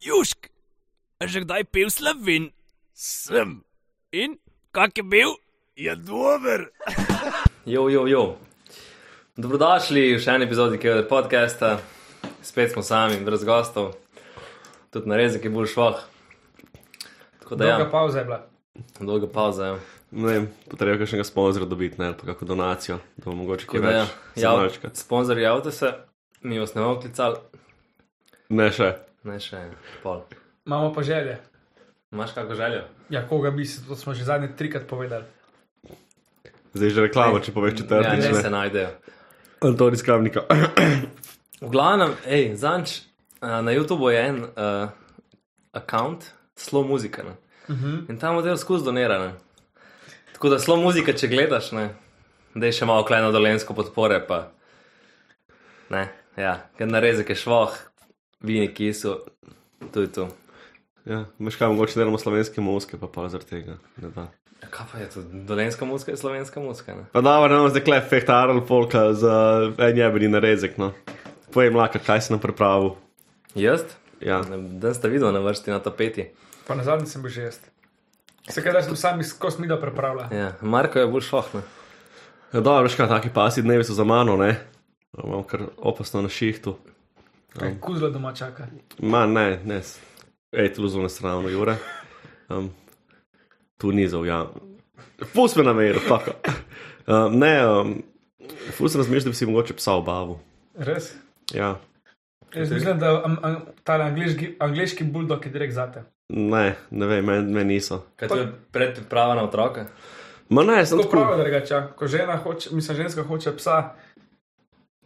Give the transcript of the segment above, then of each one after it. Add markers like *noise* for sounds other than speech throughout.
Južk, a že kdaj pil slovin? Sem. In kak je bil? Je dober. Jo, jo, jo. Dobrodošli v še eni epizodi KVD podcasta, spet smo sami, brez gostov, tudi na rezek je bolj švah. Tako da je Dolga pauza je bila. ja, dolga pauza. Ja. Ne vem, potrebuje kakšnega sponzorja dobiti, ne, ali pa kako donacijo, da bo mogoče kaj Tako da, ja. več. Ja, Jav, sponzor, javite se, mi vas ne bomo klicali, Ne še. ne še en, pol. Imamo pa želje. Imaš kakšno željo? Ja, koga bi se, to smo že zadnje trikrat povedali. Zdaj že reklamo, če poveš Ja, četrtič. ne se ne. najdejo. Antoni Skramnika. V glavnem, hej, zanč, na YouTubu je en uh, račun, slo muzika. Ne? Uh -huh. In tam model skozi donira. Ne? Tako da slo muzika, če gledaš, ne, da je še malo klejno dolensko podpore, pa ne, ja, ker narezek je švoh, vini kisu, tu in tu. *coughs* ja, veš kaj, mogoče delamo slovenske mozke, pa pa zaradi tega. Ne da. Ja, Kaj pa je to? Dolenska muzika je slovenska muzika. Ne? Pa dobro, ne bomo zdaj klep fehtarali polka za en jebeni narezek, no. Povej mlaka, kaj si nam pripravil. Jaz? Ja. Dan ste videli na vrsti na tapeti. Pa na zadnji sem bil že jaz. Se kaj da sem sam iz kosmida prepravljal. Ja, Marko je bolj šohne. Ja, dobro, veš kaj, taki pasi dnevi so za mano, ne. Imam kar opasno na šihtu. Kaj kuzla doma čaka. Ma ne, ne, s- ej, tu zunaj sravno, Jure. Um, tu ni za ujam. Pust me na meru, tako. Um, ne, um, fus razmišljam, da bi si mogoče psa obavil. Res? Ja, Jaz mislim, da am, am, ta angliški, angliški buldog je direkt zate. ne, ne vem, meni men niso. Kaj to je predpriprava na otroka? Ma ne, sem To tako. pravi, da ga čaka. Ko žena hoče, mislim, ženska hoče psa,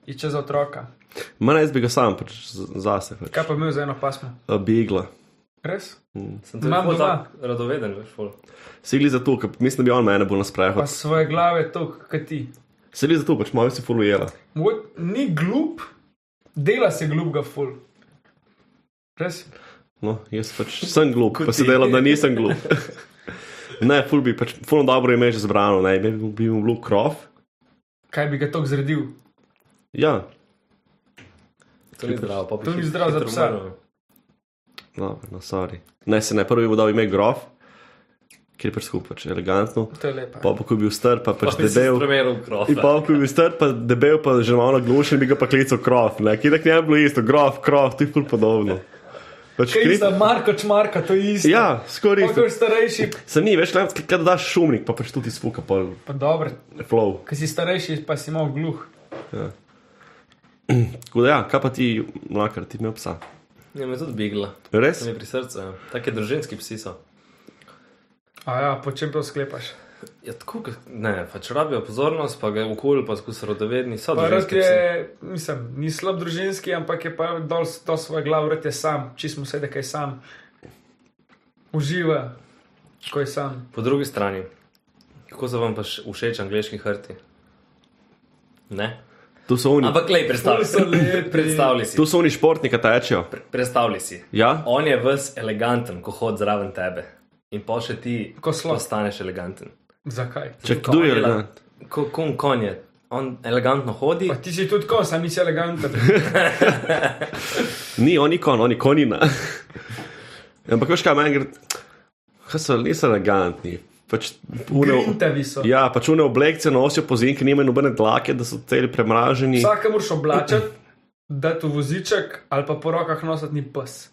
je čez otroka. Ma ne, jaz bi ga sam, pač z- zase. Pač. Kaj pa imel za eno pasmo? A, Bi igla. Res? Sem tudi Imam ful doma. tak radoveden, veš, ful. Sigli za to, ker mislim, da bi on mene bolj Pa nasprehal. svoje glave tok, kot ti. Sigli za to, pač malo si fulujela. Moj, ni glup, dela se glupga ful. Res? No, jaz pač sem glup, pa se delam, da nisem glup. *laughs* ne, ful bi pač, ful dobro ime že zbrano, ne, bi bil- bi mu bil krov. Kaj bi ga tok zredil? Ja, To ni zdravo, pa To ni zdravo za psa. Dobro, no, sorry. Ne, se ne, prvi bo dal ime grof, ker je pač skup, pač elegantno. To je lepa. Pa, pa ko je bil star, pa pač Debel. debel. Primeru krofa. In pa, ko je bil star, pa debel, pa že malo naglušen, bi ga pa klical grof. Ne, ki tak ne bi bilo isto, grof, grof, ti ful podobno. Pač Kaj kri- za Marko Čmarka, to je isto. Ja, Kako skoraj isto. je starejši? Se ni več, kaj da daš šumnik, pa pač tudi spuka, pa Pa dobro, flow. ki si starejši, pa si imel gluh. Tako da ja, kaj pa ti, mlakar, ti imel psa. Ja, me tudi bigla. Res? To mi je pri srcu. ja. Take družinski psi so. A ja, po čem to sklepaš? Ja, tako, ke- ne, pač rabijo pozornost, pa ga okolj, pa skusi radovedni. So Pa rad družinski psi. je, mislim, ni slab družinski, ampak je pa dol s- to svoje glavo, rad je sam, čist mu sedi kaj sam. Uživa, ko je sam. Po drugi strani, kako so vam pa še- všeč angliški hrti? Ne? Tu so oni, Ampak lej, predstavljaj Ful so lepi. si. Predstavljaj si. tu so oni športniki, ki tečejo. Pre- Predstavljaj si. Ja? On je ves eleganten, ko hod zraven tebe. In pa še ti, Ko slon. postaneš eleganten. Zakaj? Če Ko kdo je on dela- elegant? Ko kon, kon je, on elegantno hodi. Pa ti si tudi kon, sam nisi *laughs* eleganten. Ni, oni kon, oni konina. *laughs* Ampak veš kaj, meni gre, kaj so, niso elegantni. Pač une, Grintavi so. ja, pač une oblekce nosijo po zimki, nimajo nobene dlake, da so celi premraženi. Vsake moraš oblačati, da tu voziček ali pa po rokah nositi ni pes.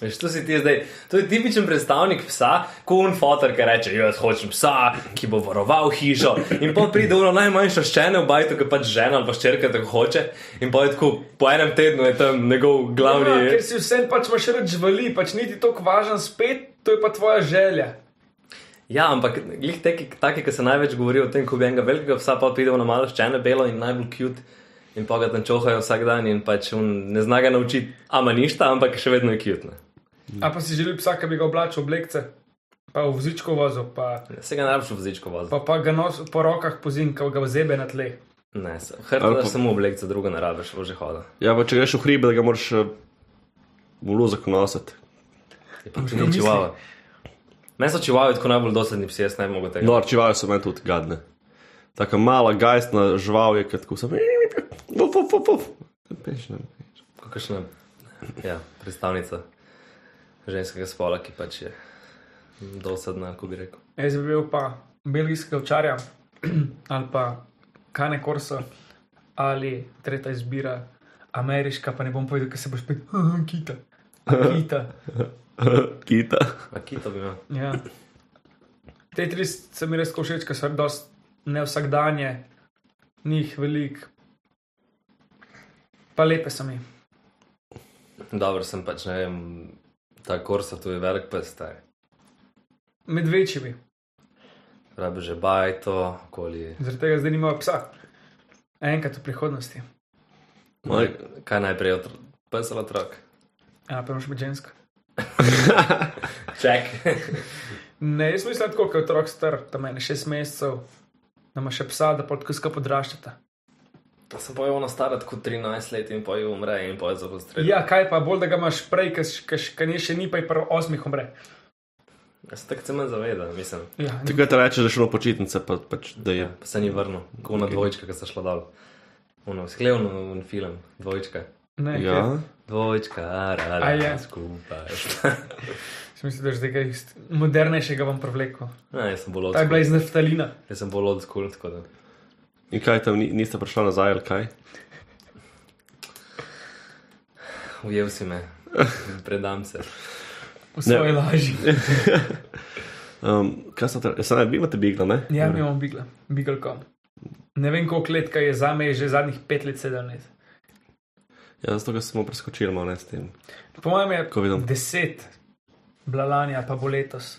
Veš, to si ti zdaj, to je tipičen predstavnik psa, ko un fotor, ki reče: Jaz hočem psa, ki bo varoval hišo. In pa pride ono najmanjša ščene v bajtu, ki pač žena ali pa ščerka tako hoče. In pa je tako, po enem tednu je tam njegov glavni. Ja, ker si vsem pač imaš rad živali, pač niti tako važen spet, to je pa tvoja želja. Ja, ampak glih teki, taki, ki se največ govori o tem, ko bi enega velikega psa pa pridel na malo ščene belo in najbolj cute. In pa ga tam čohajo vsak dan in pač on ne zna ga naučiti, ama ništa, ampak še vedno je cute. ne. A pa si želi psa, ki bi ga oblačil oblekce, pa v vozičko vozil, pa, Se ga najbolj vzičko vozi. pa, pa ga nosil po rokah pozinkal, ga zebe na tleh. Ne, se- hrbta Ali daš pa- samo oblekce, drugo ne rabiš, že hoda. Ja, pa če greš v hribe, da ga moraš eh, v luzak nositi. Je pa tudi čivava. Meni so čivave tako najbolj dosedni psi, jaz ne bi mogel tega. No, čivave so meni tudi gadne. Taka mala gajstna žival je, ki tako samo. Vuf, vuf, vuf, vuf. Peš, ne. Kakšne ja, predstavnica ženskega spola, ki pač je dosadna, kako bi rekel. Jaz bi bil pa belgijski ovčarja *clears throat* ali pa kane korsa ali tretja izbira ameriška, pa ne bom povedal, ker se boš spet kita. Kita. *laughs* Kita. Akito bi imel. Ja. Te tri se mi res tako všeč, ker so dost ne vsakdanje, njih velik. Pa lepe so mi. Dobro, sem pač ne vem, ta korsa tu je velik pes, ta je. Med večjimi. Rabe že bajto, okoli. Zaradi tega zdaj nimajo psa. Enkrat v prihodnosti. Moj- Kaj najprej, otro... pes ali otrok? Ja, pa moraš biti ženska. Ček. Ne, jaz mislim, da tako, kot je otrok star, tam je šest mesecev, da ima še psa, da pa tako skupaj odraščata. To sem *laughs* pa je ono stara kot 13 let in pa je umre in pa je zapostreljen. Ja, kaj pa bolj, da ga imaš prej, kaj ni še ni, pa je prvo osmih umre. Jaz se tako se me zavedam, mislim. Ja, ni- Takrat rečeš, da je šlo počitnice, pa pač da je. Pa se ni vrnil, kot na dvojčka, ki se šla dol. Uno, sklevno un no, film, dvojčka. ne, Ja, Dvojčka, A arara, je? skupaj. *laughs* Sem mislil, da je že nekaj ist- modernejšega vam prevleko. Ne, jaz sem bolj Ta je bila odskočil. iz naftalina. Jaz sem bolj odskočil, tako da. in kaj tam ni, niste prišla nazaj, ali kaj? Ujel si *laughs* me, predam se. V svoji *laughs* laži. Um, kaj sem tam, sem vi imate bigla, ne? Ja, mi imamo bigla, bigelkom. Ne vem, koliko let, kaj je za me, je že zadnjih pet let, sedem let. Ja, zato ker smo preskočili malo ne s tem. Po mojem je Ko vidim. deset, bila lani, pa bo letos.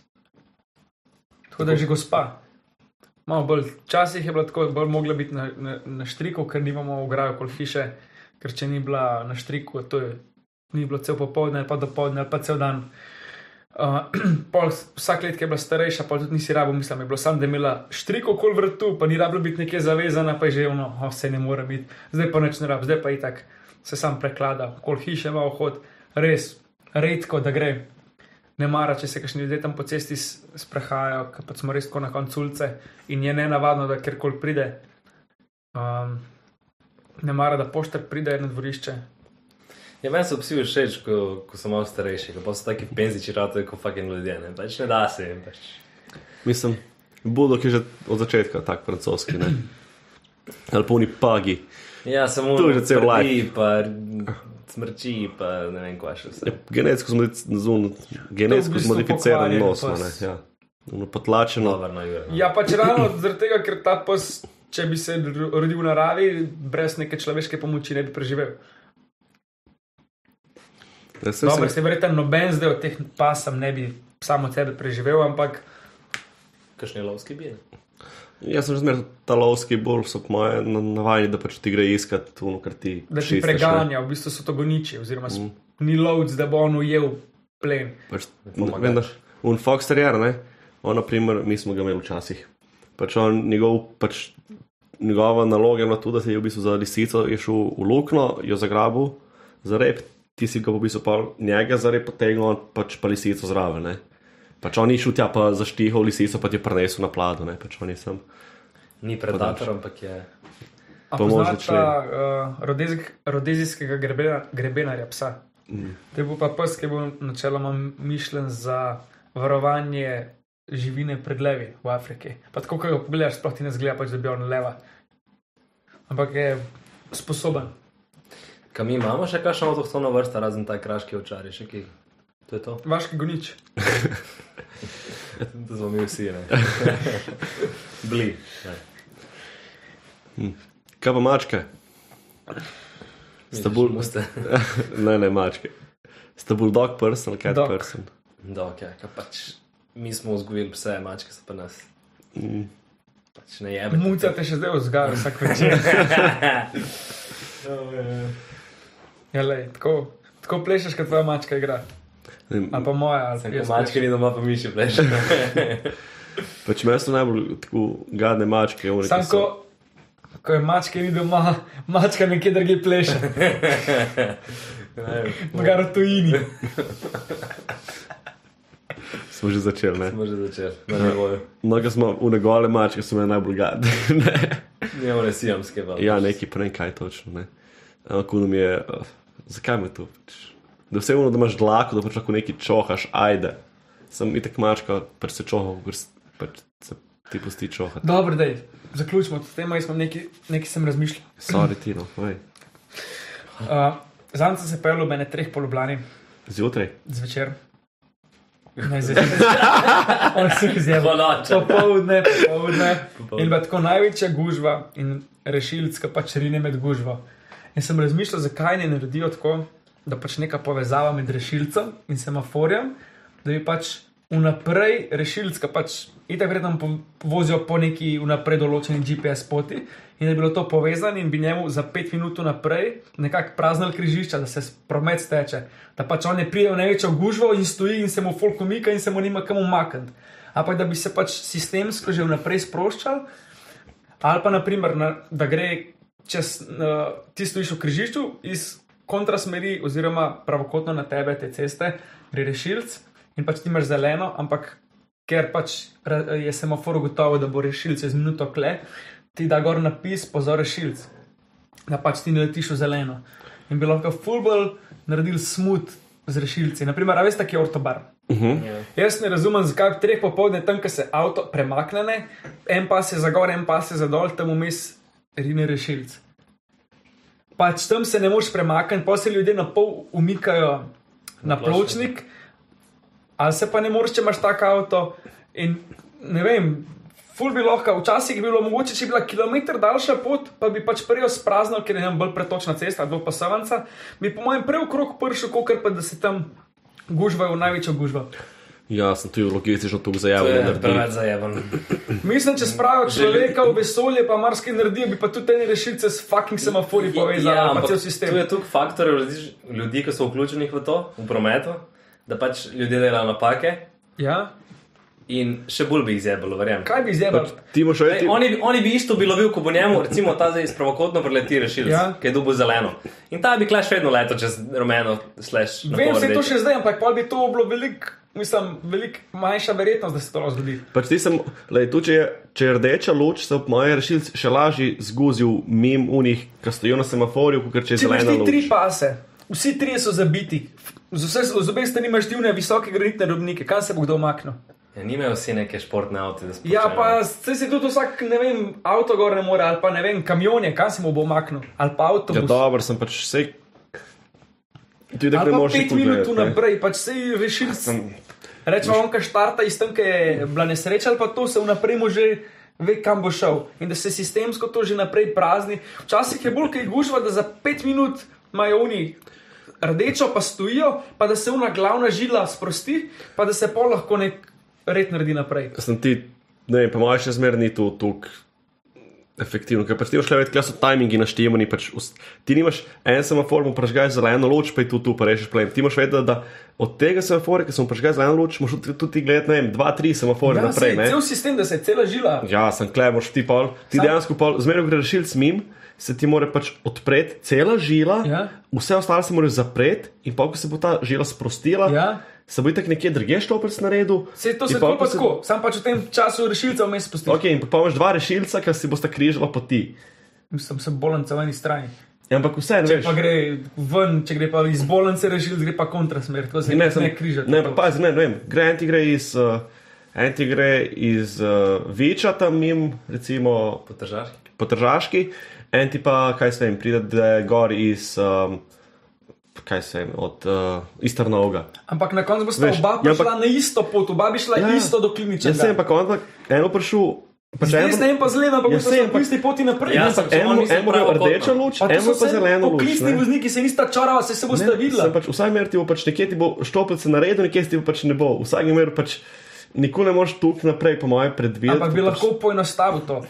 Tako da je že gospa. Malo bolj včasih je bilo tako, bolj mogla biti na, na, na štriku, ker nimamo ograjo okoli hiše, ker če ni bila na štriku, to je ni bilo cel popoldne ali pa dopoldne ali pa cel dan. Uh, *clears throat* pol, vsak let, ki je bila starejša, pa tudi nisi rabo, mislim, je bilo sam, da je imela štriko okoli vrtu, pa ni rabo biti nekje zavezana, pa je že ono, oh, se ne more biti, zdaj pa neč ne rab, zdaj pa je tako, se sam preklada, okoli hiše ima vhod, res, redko da gre. Ne mara, če se kakšni ljudje tam po cesti s- sprehajajo, ker pač smo res tako na koncu ulice in je ne navadno, da kjerkoli pride. Um, ne mara, da poštar pride na dvorišče, Ja, meni so psi všeč, ko, ko so malo starejši, ko pa so taki penziči rado, kot fucking ljudje, ne, pač ne da se jim. Pač. Mislim, Bulldog je že od začetka tak francoski, ne? Ali polni pagi. Ja, samo To je že cel prdi, pa smrči, pa ne vem, kva še vse. Ja, genetsko smo zunaj, v genetsko bistvu smo modificirani pokvarjen nos, ima, pes. ne? Ja. Ono Potlačeno. Dobar, no, Jure. no. Ja, pač ravno zaradi tega, ker ta pes, če bi se ro- rodil v naravi, brez neke človeške pomoči ne bi preživel. Ja, saj Dobro, se- se verjetno noben zdaj od teh pasem ne bi samo od sebe preživel, ampak Kakšni lovski bi? ne? Jaz sem že zmeraj ta lovski bolj, so po moje na- navajeni, da pač ti gre iskat, tuno, kar ti da ti šistaš, ne. preganja, v bistvu so to goniči, oziroma Mhm. mm. ni lovc, da bo on ujel plen. Pač, pomagač. vendar, un Fox Terrier, ne? on, na primer, mi smo ga imeli včasih. Pač on, njegov, pač, njegova naloga je bila tu, da se je v bistvu za lisico je šel v luknjo, jo zagrabil, za rep, ti si ga v bistvu pa njega za rep potegnil, on pač pa lisico zraven. ne. Pač on ni šel tja, pa zaštihal lisico, pa ti je prenesel na plado, ne pač on je sam. Ni predator, ampak je. A Pomožni poznata uh, rodezik, rodezijskega grebena, grebenarja psa. Mm. To je bil pa pes, ki je bil načeloma mišljen za varovanje živine pred levi v Afriki. Pa tako, ko ga pogledaš, sploh ti ne zgleda, pač, da bi on leva. Ampak je sposoben. Kaj mi imamo še kakšno avtohtono vrsto, razen ta kraški očari, še ki. To je to. Vaški gonič. To smo mi vsi, ne. Bli. Ne. Kaj pa mačke? Sta bolj, Muste. ne, ne, mačke. Sta bulldog person, cat Dog. dog. person. Da, ok, kaj pač. Mi smo vzgojili pse, mačke so pa nas. Pač ne jebe. Muca te še zdaj vzgaja vsak večer. no, Ja, lej, tako, tako plešeš, kot tvoja mačka igra. Ne vem, Ali pa moja, ali Ko jaz mačke ni doma, pa mi še pleš. Pač meni so najbolj tako gadne mačke. one, ki Sam so- ko, ko je mačka ni doma, mačka nekje drugje *laughs* pleše, mogar v tujini. Smo že začeli, ne? Smo že začeli, na nivoju. No, ko smo unegole mačke, so me najbolj gadne. *laughs* Ja, ne? Nimamo ne sijamske, pa. ja, neki prej kaj točno, ne. Ampak ono mi je, eh, zakaj me to pač? da vse eno, da imaš dlako, da pač lahko nekaj čohaš, ajde. Sem itek mačka, pač se čoha, pač se ti pusti čohati. Dobro, da zaključimo s tem, jaz sem nekaj, nekaj sem razmišljal. Sorry, ti no, povej. Uh, Zanj sem se pel ob ene treh polublani Zjutraj. zvečer. Ne, *laughs* zvečer. Vseh zjebal. Ponoči. Popovdne, popovdne. In bila tako največja gužva in rešilc, ki pač rine med gužvo. In sem razmišljal, zakaj ne naredijo tako, da pač neka povezava med rešilcem in semaforjem, da bi pač vnaprej rešilc, ki pač itak verjetno po- vozijo po neki vnaprej določeni GPS poti, in da bi bilo to povezano in bi njemu za pet minut naprej nekako praznil križišča, da se s- promet steče, da pač on je prijel največjo gužvo in stoji in se mu folk umika in se mu nima kam umakniti. Ampak da bi se pač sistemsko že vnaprej sproščal, Ali pa, naprimer, na, da gre čez uh, tisto višjo križišču iz kontrasmeri, oziroma pravokotno na tebe te ceste, gre rešilc in pač ti imaš zeleno, ampak ker pač ra- je semafor gotovo, da bo rešilc čez minuto kle, ti da gor napis pozor rešilc, da pač ti ne letiš v zeleno. In bi lahko fulbol naredil smut z rešilci. Naprimer, a veste, kje je ortobar. Jaz ne razumem, zakaj ob treh popovdne tam, ko se avto premakne, ne, en pas je za gor, en pas je za dol, tam vmes rine rešilc. Pač tam se ne moš premakniti, pa se ljudje na pol umikajo na pločnik, ali se pa ne moreš, če imaš tak avto. In ne vem, ful bi lahko, včasih je bilo mogoče, če bi bila kilometr daljša pot, pa bi pač prej spraznil, ker je tam bolj pretočna cesta, dva pasavanca, bi po mojem prej okrog pršel, kot pa da se tam gužvajo v največjo gužvo. Ja, sem tu logistično tu zajavil, To da je naredim. preveč zajeban. Mislim, če spravijo človeka v vesolje, pa marsikaj naredijo, bi pa tudi te rešilce s fucking semafori povezali, ja, pa ampak cel Tu sistem. je toliko faktorjev različ- ljudi, ki so vključenih v to, v prometu, da pač ljudje delajo napake Ja? in še bolj bi jih zebalo, verjamem. Kaj bi zebal? Ti moš Ej, reči, oni, bi- oni bi isto bilo bil, ko bo njemu, recimo, ta zdaj spravokotno preleti rešil, Ja. ja. ki je dubo zeleno. In ta bi klaš vedno leto čez rumeno, slash. na Vem, pol se je to rdeče. še zdaj, ampak pa bi to bilo veliko, mislim, veliko manjša verjetnost, da se to lahko zgodi. pač ti sem, lej, tu če je, če je rdeča luč, se ob moje rešilci še lažje zguzil mim unih, ki stojijo na semaforju, kot če je Če imaš zelena ti tri luč. pase, vsi trije so zabiti, z, vse, z obe strani imaš divne visoke granitne robnike, kam se bo kdo omaknil? Ja, nimajo vsi neke športne avte, da spoštujejo. Ja, pa se si tudi vsak, ne vem, avto gor ne more, ali pa ne vem, kamionje, kam se mu bo omaknil, ali pa Ja, avtobus. dobro, sem pač vse. Ti da Ali ne pa moreš pet iti minut pogledat, ne. naprej, pač se je rešil. Rečemo, on, ki štarta iz tam, ki je bila nesreča, ali pa to se vnaprej mu že ve, kam bo šel. In da se sistemsko to že naprej prazni. Včasih je bolj kaj gužva, da za pet minut imajo oni. Rdečo pa stojijo, pa da se una glavna žila sprosti, pa da se pol lahko nek red naredi naprej. sem ti, ne vem, po mojem, še zmeraj ni to tako efektivno. Ker pač ti šle več, kaj so timingi naštevani. Pač, vs- ti nimaš en semafor, mu prežgaj zeleno luč, pa je tu, tu pa rešiš problem. Ti moraš vedeti, da od tega semafora, ki sem prežgaj zeleno luč, moraš tudi, tudi ti gledati, ne vem, dva, tri semafore Ja, saj naprej. je Ne? cel sistem, da se je cela žila. Ja, sem klemoš ti pol, ti Sam- dejansko pol, zmeraj greš rešil s mim. Se ti mora pač odpreti cela žila, Ja. vse ostale se mora zapreti, in pa, ko se bo ta žila sprostila, Ja. se bo itek nekje drugje šloprc naredil. Se to in se tako pol, ko pa tako, sam pač v tem času rešilca vmes spusti. Ok, in pa imaš dva rešilca, ki si bosta križala poti. Sem se bolen na eni strani. Ja, Ampak vseeno, veš, Pa gre ven, če gre pa iz bolnice rešil, gre pa kontrasmer, tako se ne, sem- ne križa. Ne, pa pazi, ne, ne vem, gre en ti gre iz, uh, en ti gre iz uh, Veča tam mim, recimo Potržaški. potržaški, en ti pa, kaj se vem, pride da je gor iz, um, kaj se vem, od, uh, iz Trnovga. Ampak na koncu bosta Veš, oba ja, prišla ja, na isto pot, oba bi šla ja, Ja. isto do Jaz sem kliničnega. pa kontak, eno prišel, pa še Jaz ne eno. vem pa zleda, ampak Ja, bosta saj, šla po ampak- isti poti naprej. Ja, Ne, ampak- samo Eno nisem eno gre pravokotno. rdeča luč, pa to eno so pa vse zelena luč. Poklicni ne. vozniki se nista čarala, se se bosta videla. sem Pač, vsaj mer ti bo pač nekje ti bo štopil se naredil, nekje ti bo pač ne bo. Vsak mer pač nikoli ne moreš tukaj naprej, po mojem, predvideti. pač Ampak bi ker lahko poenostavil to.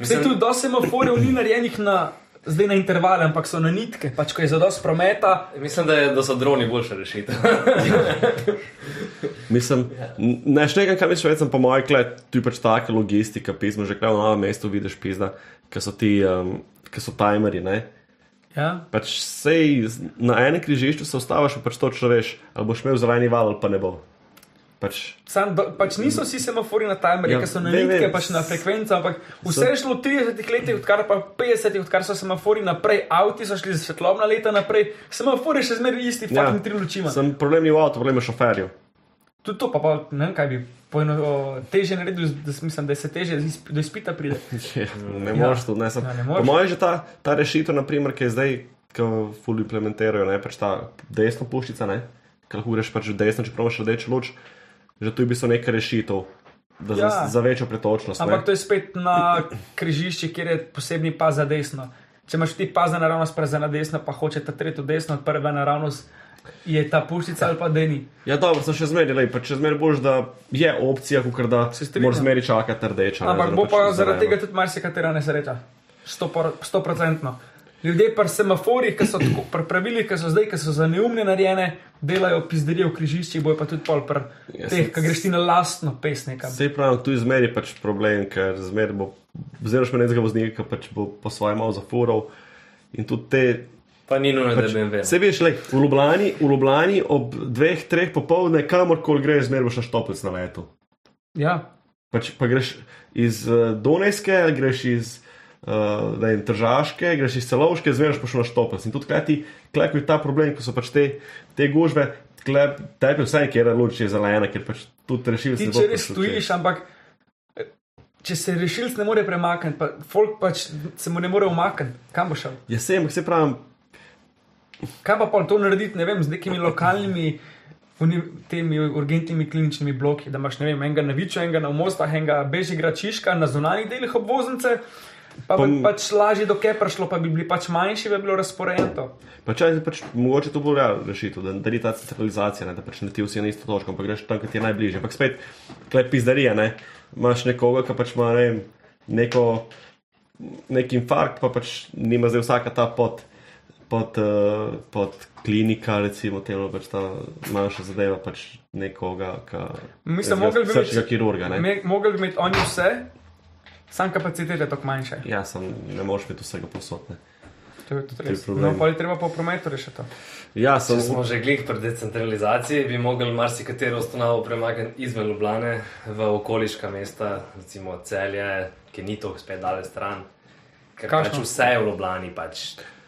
Vse tu do semaforjev ni narejenih na, zdaj na intervale, ampak so na nitke, pač ko je zadost prometa. Mislim, da, je, da so droni boljša rešitev. *laughs* Pač, mislim, n- ne štekam, kaj misliš, sem po mojem, kle, tu je pač taka logistika, pismo, že kle v novem mestu vidiš pizda, ker so ti, um, ker so timerji, ne. Ja. Pač sej z- na enem križišču se ostaviš, pa pač točno veš, ali boš imel zeleni val ali pa ne bo. Pač, Sam, do, pač niso vsi semafori na timerju, Ja, ja, ki so na ne, ne, nitke, pač na frekvenco, ampak vse so- je šlo v 30 letih, odkar pa 50, odkar so semafori naprej, avti so šli za svetlobna leta naprej, semafori še zmeraj isti, ja. fucking tri lučima. Sem problem ni v avtu, problem je šoferju. Tudi to pa, pa ne vem, kaj bi poeno, o, teže naredil, da, s- mislim, da se teže iz- do izpita *laughs* pride. Ne moreš to, ne sem. Ja, ne Po moreš. mojem, že ta, ta rešitev, naprimer, ki je zdaj, ki jo fully implementirajo, ne pač ta desna puščica, ne, ki lahko greš pač v desno, čeprav imaš rdeč luč, že tu bi so neka rešitev. Da, ja. Ja. za, za večjo pretočnost. Ampak ne. to je spet na križišču, kjer je posebni pas za desno. Če imaš ti pas za naravnost, pa za na desno, pa hoče ta tretjo desno, prva naravnost je ta puščica ali pa deni. Ja, dobro, sem še zmeraj, lej, pa če zmeraj boš, da je opcija, kot da Se strinjam. moraš zmeraj čakati rdeča. ne, Ampak da bo pač pa zeleno. zaradi tega tudi marsikatera nesreča. Sto por- Stoprocentno. Ljudje pri semaforjih, ki so tako, pri pravilih, ki so zdaj, ki so za neumne narejene, delajo pizderije v križiščih, bojo pa tudi pol pri Ja, teh, se- ki greš ti na lastno pesnika. Sej pravi, tu je zmeri pač problem, ker zmeri bo, zelo še nekega voznika, ki pač bo po svojem malo zafural. In tudi te. Pa ni nujno, da Pač, bi jim vedel. se veš, le, v, Ljubljani, v Ljubljani ob dveh, treh popovdne, kamorkoli greš, zmeri boš na štopec na letu. Ja, Pač, pa greš iz uh, Donetske, ali greš iz uh, vem, Tržaške, greš iz Celovške, zmeri boš šel na štopec. In tudi kaj ti, kaj je ta problem, ko so pač te, te gužve, tebi vsaj, ker je luč je zelena, ker pač tudi rešilci ti ne če bodo res prišli čez. stojiš, ampak eh, če se rešilc ne more premakniti, pa folk pač se mu ne more umakniti, kam bo šel? Ja, sem, ampak se pravi, Kaj pa pol to narediti, ne vem, z nekimi lokalnimi, uni, temi urgentnimi kliničnimi bloki, da imaš, ne vem, enega na Viču, enega na Mostah, enega Bežigra, Čiška, na zunanjih delih obvoznice, pa bi Pom- pač lažje do Kepra šlo, pa bi bili pač manjši, bi bilo razporejeno. Pa če je pač, mogoče to bolj rešitev, da, da ni ta centralizacija, ne, da pač ne ti vsi na isto točko, ampak greš tam, kjer ti je najbližje. Ampak spet, klep pizdarija, ne. Imaš nekoga, ki pač ima ne vem, neko, nek infarkt, pa pač nima zdaj vsaka ta pot. Pod, uh, pod klinika, recimo, telo, pač ta manjša zadeva, pač nekoga, ki Mislim, nekega mogli bi srčnega imeti- kirurga. Ne? Me- Mogli bi imeti oni vse, sam kapacitete tako manjše. Ja, sem, ne moreš biti vsega posodne. To je tudi je res. problem. No, pa je treba po prometu rešiti. to. Ja, Če sem, smo že glih pri decentralizaciji, bi mogli marsikatero ustanovo premakniti izven Ljubljane v okoliška mesta, recimo Celje, ki ni tako spet dale stran. Ker Kakšno? pač vse je v Ljubljani, pač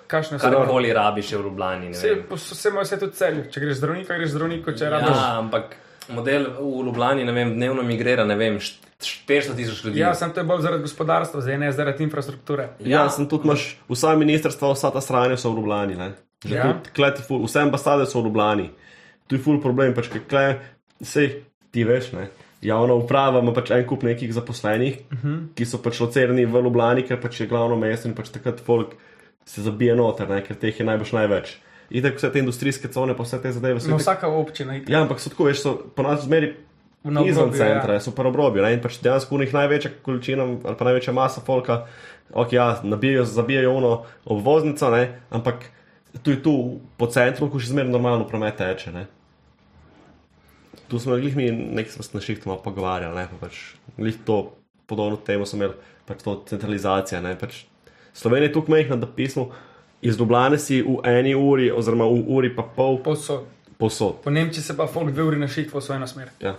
Kakšne so role? karkoli rabiš je v Ljubljani. ne Vse, vem. vse ima vse tudi celje. Če greš zdravnika, greš zdravniku, če rabiš. Ja, ampak model v Ljubljani, ne vem, dnevno migrira, ne vem, št- 400 tisoč ljudi. Ja, sem to je bolj zaradi gospodarstva, zdaj ne zaradi infrastrukture. Ja, sem tudi imaš, vsa ministrstva, vsa ta sranja so v Ljubljani. ne. Že Ja. tudi tule ti ful- Vse ambasade so v Ljubljani. Tu je ful problem, pač ker kle, sej ti veš, ne. Javna uprava ima pač en kup nekih zaposlenih, uh -huh. Mhm. ki so pač locerni v Ljubljani, ker pač je glavno mesto in pač takrat folk se zabije noter, ne, ker teh je najbrž največ. In tako vse te industrijske cone, pa vse te zadeve so. No, itak- vsaka občina je Ja, ampak so tako, veš, so pa nas zmeri Na izven obrobju, ja. centra, ja. so pa na obrobju. ne, In pač dejansko v njih največja količina ali pa največja masa folka, ok, ja, nabijajo, zabijajo ono obvoznico, ne, ampak tu je tu po centru, ko še zmeraj normalno promet teče. Ne. Tu smo jih mi nekaj smo se na šihtu malo pogovarjali, ne, pa pač glih to podobno temu smo imeli, pač to centralizacija, ne, pač Slovenija je tukaj mehna, da pismo iz Ljubljane si v eni uri oziroma v uri pa pol povsod. posod. Po Nemčiji se pa folk dve uri na ših v svojo smer. Ja.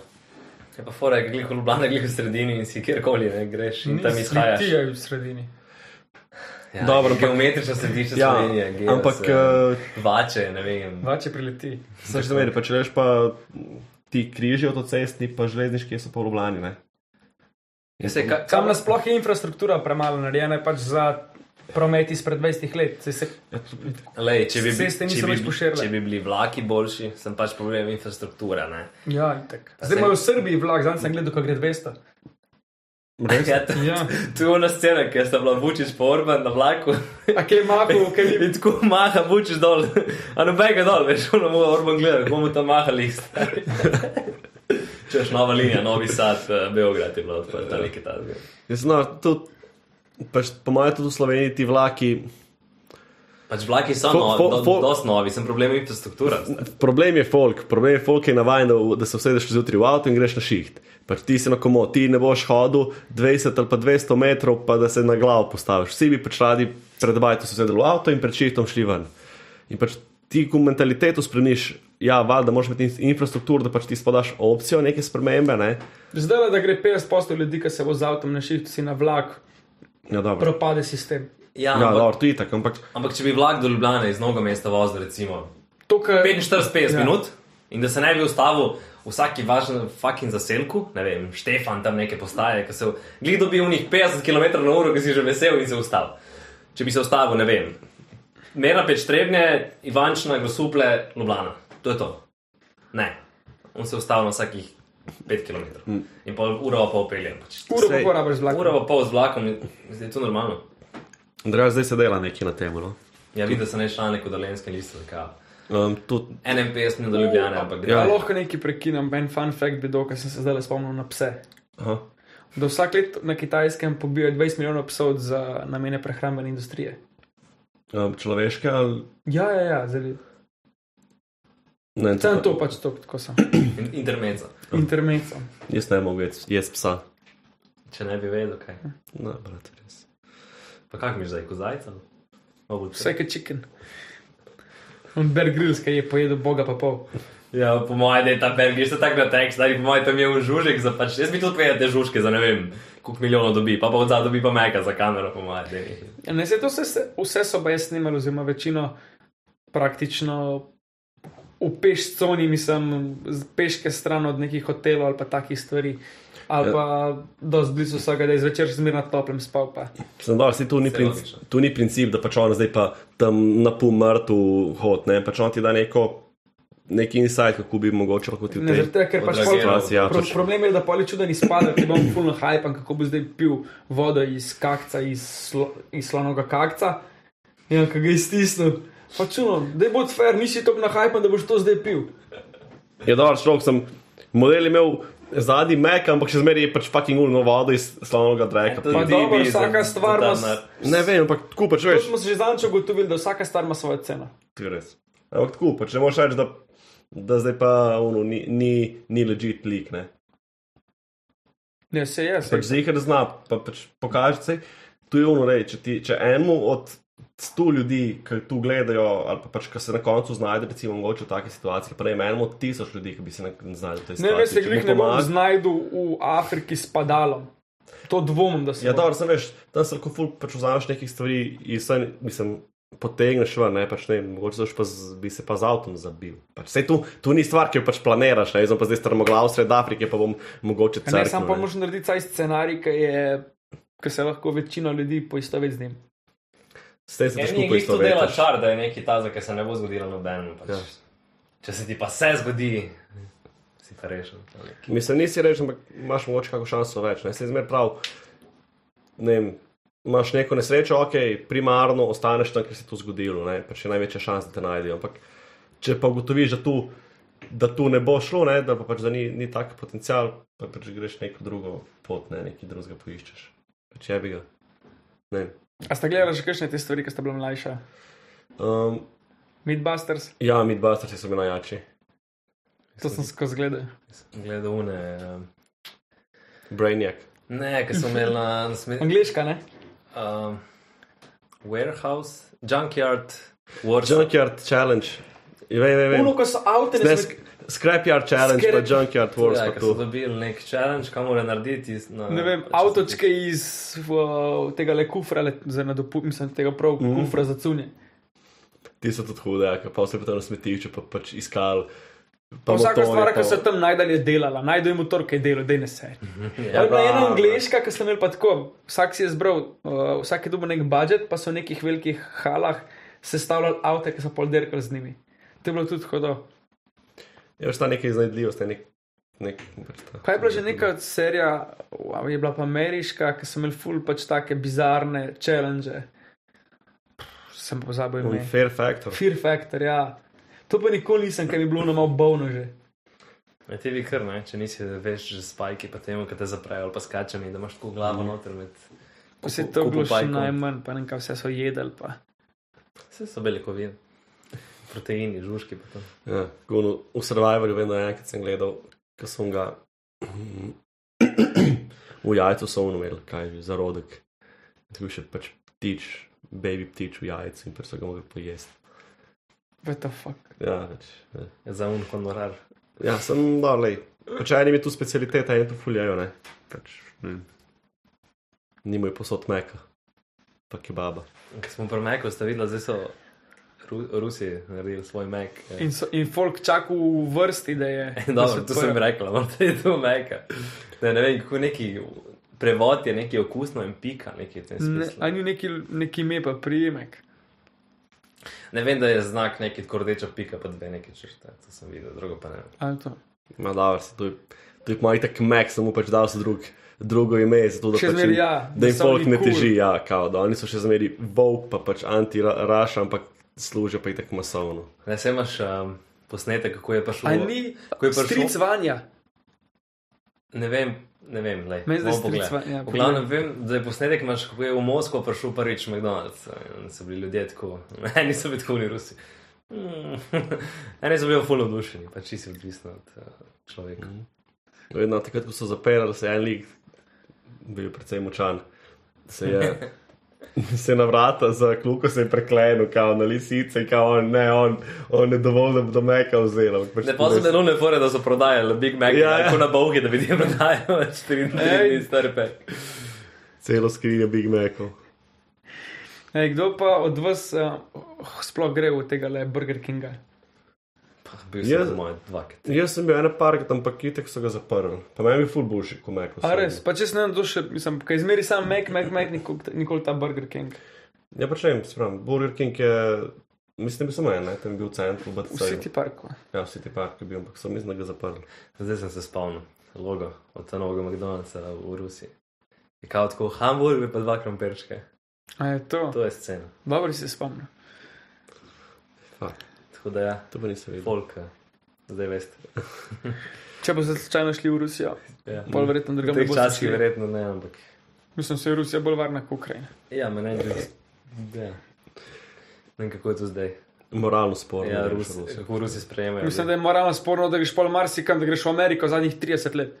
Je pa fora, glih v Ljubljani, glih v sredini in si kjerkoli ne greš in tam Ni izhajaš. Ti je v sredini. Ja, Dobro, ampak- geometrično središče Ja, Slovenije, gledaj ampak, se, eh, vače, ne vem. Vače prileti. Saj še zmeraj, pa če rečeš, pa ti križi avtocestni, pa železniški so pa v Ljubljani. Ne? Ja, Se, ka, Kam nasploh je infrastruktura premalo narejena, je pač za promet izpred 20 let. Se, se, Lej, če bi, bi- Ceste niso če, bi, več bi- poširile. če bi bili vlaki boljši, sem pač problem infrastruktura. Ne? ja, itak. Zdaj imajo v Srbiji vlak, zdaj sem gledal, kako gre 200. Res? *laughs* Ja, to, Ja. to je ona scena, ki sta bila Vučić po Orban na vlaku. A kje mahu, kje ni In tako maha Vučić dol, *laughs* a nobenega dol, veš, ono mu Orban gleda, kako mu tam maha list. *laughs* Češ nova linija, novi sad, eh, Beograd je bila odprta, nekaj takega. *laughs* Jaz, no, tudi, pač, po mojem, tudi v Sloveniji ti vlaki. Pač vlaki so Fo- no, fo- do, fo- Ja, dosti novi, sem problem infrastruktura. Problem je folk, problem je folk, ki je navaden, da, v- da se vsedeš zjutraj v avto in greš na šiht. Pač ti si na komo, ti ne boš hodil 20 ali pa 200 metrov, pa da se na glavo postaviš. Vsi bi pač radi pred bajto se sedeli v avto in pred šihtom šli ven. In pač ti, ko mentaliteto spremeniš, ja, val, da moraš imeti in- infrastrukturo, da pač ti spadaš opcijo, neke spremembe. Ne? Zdaj, le, da gre 50% ljudi, ki se bo z avtom našil, si na vlak, Ja, dobro. propade sistem. Ja, Ja, ampak, dobro, to je tako, ampak ampak če bi vlak do Ljubljana iz mnogo mesta vozil, recimo To, kar 45 Ja. ja. minut, in da se ne bi ustavil v vsaki važni fucking zaselku, ne vem, Štefan tam neke postaje, ki se glido bi v njih 50 km/h, ki si že vesel in se ustavil. Če bi se ustavil, ne vem. Mera pečtrebne, Ivančna, Gosuple, Ljubljana. To je to. Ne. On se ustavlja na vsakih 5 km. In pol uro pa opelje. Pač. uro pa Sej. porabiš z vlakom. Uro pa pol z vlakom, je to normalno. Andrej, zdaj se dela nekaj na tem. No? Ja, videl sem en članek v Dolenskem listu, kaj. Um, to, 51 minut do Ljubljana, ampak Ja. gre. Lahko nekaj prekinem, en fun fact bi dol, ker sem se zdaj spomnil na pse. aha, Da vsak let na kitajskem pobijajo 20 milijonov psov za namene prehrambene industrije. um, človeške ali Ja, ja, ja, zelo. ne. Sem to pač to, tako sem. In- Intermezzo. Intermezzo. Jaz ne mogu jaz, jaz psa. Če ne bi vedel, kaj. No, Ne, brat, res. Pa kak mi je zdaj, ko zajcem? Vse je chicken. On Bear Grylls, ki je pojedel boga pa pol. Ja, po mojem, da je ta Belgij še tako na tekst, da je po mojem tam je v žužek, za pač jaz bi tudi povedal te žužke, za ne vem, koliko milijonov dobi, pa pa od zadaj dobi pa meka za kamero, po mojem, da je. Ja, ne, saj to se, se, vse so pa jaz snimali, oziroma večino praktično v peš coni, mislim, z peške stran od nekih hotelov ali pa takih stvari. Ali Ja. pa do zblizu vsega, da je zvečer zmerno toplem spal. Pa. Sem dobro, saj to ni, Saj princ, logično. to ni princip, da pač on zdaj pa tam na pol mrtev hod, ne, pač on ti da neko, neki insight, kako bi mogoče lahko ti v Ne, tej zaradi tega, ker pač pol, odrageral. situaciji, ja, pro, pač- problem je, da poli čuda ni spada, ker bom fulno hajpan, kako bo zdaj pil vodo iz kakca, iz, slo, iz slonoga kakca. Ja, ki ga je stisnil. Pač čuno, da je bod fair, nisi tako nahajpan, da boš to zdaj pil. Je dobro, človek sem model imel zadnji mek, ampak še zmeraj je pač fucking urno vodo iz slavnega dreka. Pa pa- dobro, vsaka stvar nas- Ne vem, ampak tako pač To veš. smo se že zanč ugotovili, da vsaka stvar ima svojo ceno. To je res. Ampak tako pač ne moreš reči, da, da zdaj pa ono, ni, ni, ni legit lik. Ne? Ne, se je, se Pač zihar zna, pa pač pokaži se. Tu je ono reči, če, ti- če enemu od sto ljudi, ki tu gledajo, ali pa pač, ki se na koncu znajde, recimo, mogoče v taki situaciji, prej enemu od tisoč ljudi, ki bi se na, znašli v tej Ne, situaciji. ne, se Če mu glih ne bom pomagaš- znašel v Afriki s padalom. To dvomim, da se Ja, bo. dobro, sem veš, tam se lahko ful pač vzameš nekih stvari in se, mislim, potegneš ven, ne, pač ne, vem, mogoče se pa z, bi se pa z avtom zabil. Pač, sej tu, tu ni stvar, ki jo pač planiraš, ne, jaz sem pa zdaj strmoglav sred Afrike, pa bom mogoče Ne, celo. sam pa moraš narediti taj scenarij, ki je, ki se lahko večina ljudi poistoveti z njim. S tem se Ja, pač ni skupaj jih to dela istovetiš. čar, da je neki ta, ki se ne bo zgodila nobenemu. Pač. Ja. Ja. Če se ti pa se zgodi, si pa rešen. Mislim, nisi reči, ampak imaš mogoče kakšno šanso več, ne, se zmer prav, ne vem. Imaš neko nesrečo, ok, primarno ostaneš tam, ker se je to zgodilo, ne, pač je največja šansa, da te najdejo. Ampak če pa ugotoviš, da tu, da tu ne bo šlo, ne, da pa pač da ni, ni tak potencial, pa pač greš neko drugo pot, ne, nekaj drugega poiščeš. Pač je bi ga. Ne. vem. A ste gledali že kakšne te stvari, ki ste bili mlajša? Um, Midbusters, ja, midbusters so bili najjači. to sem skozi gledal. Gledal une. eh, Brainjak. Ne, ker sem imel na, na *laughs* smetu. Angliška, ne? Um, warehouse, junkyard, workshop. Junkyard challenge. Vej, vej, vej. Uno, ko so avto, Ne, ne sk sme... scrapyard challenge, Scrap- pa junkyard wars, Ja, pa ker tu. so dobili nek challenge, kam mora narediti. iz- Na, Ne vem, pač avtočke iz uh, tega le kufra, le, za nadopu, mislim, tega prav mm. kufra za cunje. Ti so tudi hude, ja, pa vse pa tam na smetišču, pa pač iskal. Pa vsaka motore, stvar, pa- ki se tam najdalje delala, najdemo motor, ki je delal, da ne se. Ja, Ja, bila je ena dobro. angliška, ki sem imel pa tako, vsak si je zbral, uh, vsak je dobil nek budžet, pa so v nekih velikih halah sestavljali avto, ki so pol derkali z njimi. To je bilo tudi hodo. Je pač ta neka iznajdljivost, ne, nek. nek pač ta- Kaj je bila že neka serija, wow, je bila pa ameriška, ki so imeli ful pač take bizarne challenge. Sem pozabil Um, ime. Fair factor. Fear Factor, ja. To pa nikoli nisem, ker mi je bilo na malo bovno že. Ja, ti bi kar, ne? če nisi veš, že spajki, pa temu, ki te zaprejo ali pa skačami, da imaš tako glavo noter. Med... Vse kupu- to je bilo še kupopajkov. najmanj, pa ne vem, kaj vse so jedli. Pa. Vse so beljakovine, proteini, žužki. pa to. Ja, tako ono, v Survivorju vem, da je enkrat sem gledal, ko sem ga v jajcu so umrl, kaj je že, zarodek. Tako še pač ptič, baby ptič v jajcu in pač so ga mogli pojesti. What the fuck? Ja, več. Ne. za un honorar. Ja, sem no, lej. Pač enim je tu specialiteta, eni to fuljajo, ne. Pač, ne. Nimajo posod meka, pa kebaba. Ker smo pri Meku, ste videli, zdaj so Ru Rusi naredili svoj Mek. *laughs* eh. In, so, in folk čaka v vrsti, da je. da *laughs* Dobro, se to odprejo. sem rekla, *laughs* morda je to Meka. Ne, ne vem, kako neki prevod je, neki okusno in pika, neki v tem Ne, smislu. a ni neki, neki ime, pa prijemek. Ne vem, da je znak neki tako rdeča pika, pa dve neki črte, to sem videl, drugo pa ne. vem. Ali to? Ma dobro, se to je, to je malo tak mek, samo pač dal so drug, drugo ime, zato da, Še pač zmeraj jim- ja, da jim da so oni folk ne cool. teži, ja, kao, da oni so še zmeri volk, pa pač anti-raš, ampak služijo pa jih tako masovno. Ne, se imaš um, posnetek, kako je prišlo. A ni Ko je prišel- stric vanja. Ne vem, ne vem, le. Meni zdaj stric Vanja, ja, V glavnem vem, da je posnetek imaš, kako je v Moskvo prišel prvič McDonald's. In so bili ljudje tako, *laughs* eni so bili tako ni Rusi. *laughs* Mm. Eni so bili fulno dušeni, pa čisto odvisno od uh, človeka. Mhm. Mm. Vedno takrat, ko so zapeljali, se je en lik bil precej močan. Se *laughs* je, se je na vrata za kluko se je preklenil, kao na lisice, kao on, ne, on, on je dovolj, da bi do meka vzel. ampak Pač Ne pa sem zelo nefore, da so prodajali Big Mac, Ja, ja, ja. ja. na bogi, da bi ti prodajali 4 dni strpe. Celo skrinjo Big Macov. E, kdo pa od vas uh, sploh gre v tega le Burger Kinga? Pa, bil sem Jaz- za moje dvakrat. Jaz sem bil ena parkrat, ampak itek so ga zaprli. Pa meni je bil ful boljši kot Meko. A res, pa če se ne vem, to še, mislim, kaj izmeri sam Mac, Mac, Mac, nikoli, nikoli ta Burger King. Ja, pa če jim spravim, Burger King je, mislim, da je bil samo en, ne, tam je bil v centru, BTC. Vsi ti parko. Ja, vsi ti parki bil, ampak so mislim, da ga zaprli. Zdaj sem se spomnil logo od tega novega McDonald'sa v Rusiji. Je kao tako hamburger, pa dva krompirčka. A je to? To je scena. Dobro si se spomnil. Fak, Tako da ja, to pa nisem videl. folk, eh, zdaj veste. Če boste slučajno šli v Rusijo, Ja. bolj verjetno V drugam ne teh boste časih šli. verjetno ne, ampak. Mislim, da je Rusija bolj varna kot Ukrajina. Ja, me ne gre. Ja. Ne vem, kako je to zdaj. Moralno sporno. Ja, ne, Rus, še Rusi. kako Rusi sprejemajo. Mislim, da je moralno sporno, da greš pol marsikam, da greš v Ameriko zadnjih 30 let.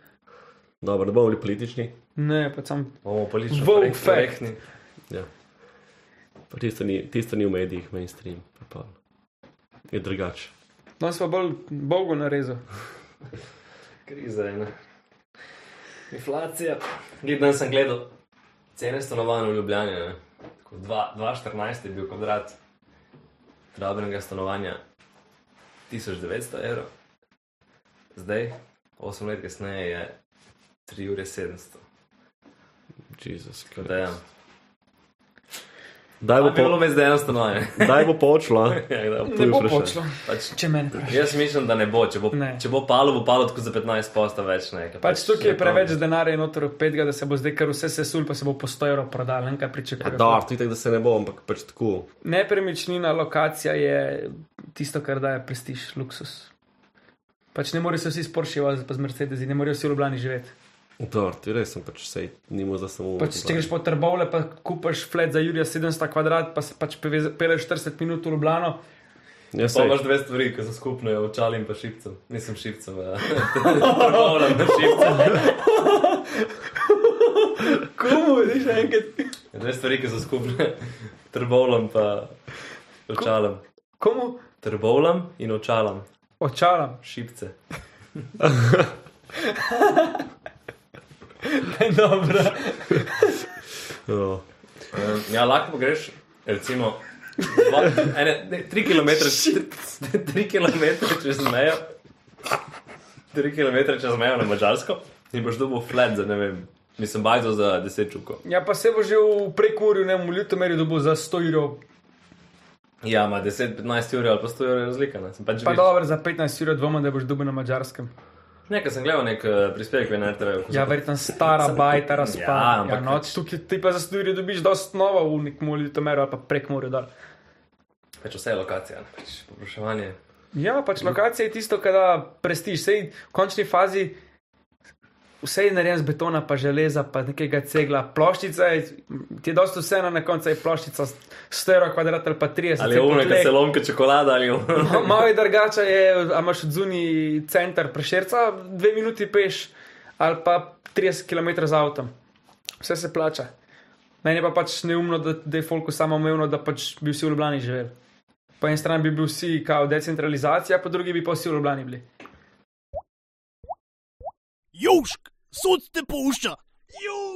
Dobro, ne bomo bili politični. Ne, pa sam. bomo politično Woke korekt- fact. korektni. Ja. Pa Tisto ni, tisto ni v medijih, mainstream, pa pa je drugače. Danes pa bolj dolgo narezal. Kriza je. ne. Inflacija. Gledam, sem gledal cene stanovanj v Ljubljani. ne. Tako dva- 2014 je bil kvadrat drabenega stanovanja 1900 evrov, zdaj, 8 let kasneje, je 3 ure 700. Jezus, Tako kaj Da, ja. Daj bo, Ampak bilo po, me zdaj eno stanovanje. *laughs* *laughs* daj bo počlo, a? Ja, kdaj bo? To Ne je bo vprašanje. počlo, pač, če meni pravi. jaz mislim, da ne bo. Če bo, Ne. če bo palo, bo palo tako za 15 posta več. Ne, ker Pač tukaj je ne preveč bo. denarja in otrok petega, da se bo zdaj kar vse sesul, pa se bo po 100 evrov prodal, ne kaj Ja, pričakuje. dar, tudi tako, da se ne bo, ampak pač tako. Nepremičnina, lokacija je tisto, kar daje prestiž, luksus. Pač ne morejo se vsi sporšivati, pa z Mercedesi, ne morejo vsi v Ljubljani živeti. Dar, ti res sem pač sej, nimo za samo. Pač, če greš po trbovle, pa kupaš flat za Jurija 700 kvadrat, pa se pač pevez- peleš 40 minut v Ljubljano. Ja, Pa sej. imaš dve stvari, ki so skupne, očali in pa šipcem. Nisem šipcem, *laughs* pravno na šipcem. Komu, vidiš enkrat? Dve stvari, ki so skupne, trbolom pa očalom. Komu? Trbolom in očalom, Očalam. šipce. Dobro. Ja. Um, ja, lahko greš, recimo, dva, ene, ne, tri km čez mejo. Tri km čez mejo na Mačarsko in boš dobil flat za ne vem. Mislim, bajzo za deset čukov. Ja, pa se bo že v prekurju, ne v Ljutomeru, dobil za 100 evrov. Ja, ima 10-15 ur ali pa 100 ur je razlika. Ne? Sem pač Pa vidiš. dobro, za 15 evrov dvomim, da boš dobil na mačarskem. Nekaj sem gledal, nek eh, prispevek na RTV. Ja, verjetno stara bajta razpada. Ja, ampak- ja, noč tukaj ti pa za sturi dobiš dost nova v nekem ljutomeru ali pa prek morja dol. Pač vse je lokacija, ne, pač popraševanje. Ja, pač lokacija je tisto, kar da prestiž. Sej v končni fazi vse je narejeno z betona, pa železa, pa nekega cegla. Ploščica je, ti je dosto vseeno, na koncu je ploščica 100 evrov kvadrat ali pa Ali 30. saj je umno, potlej- ker se lomka čokolada ali ono. Ma- Malo je drugače, je, a imaš od zunaj center prešerca, dve minuti peš ali pa 30 km z avtom. Vse se plača. Meni je pa pač neumno, da, da je folku samo umevno, da pač bi vsi v Ljubljani živeli. Po eni strani bi bili vsi kao decentralizacija, po drugi bi pa vsi v Ljubljani bili. Južk, sod te pušča. Južk.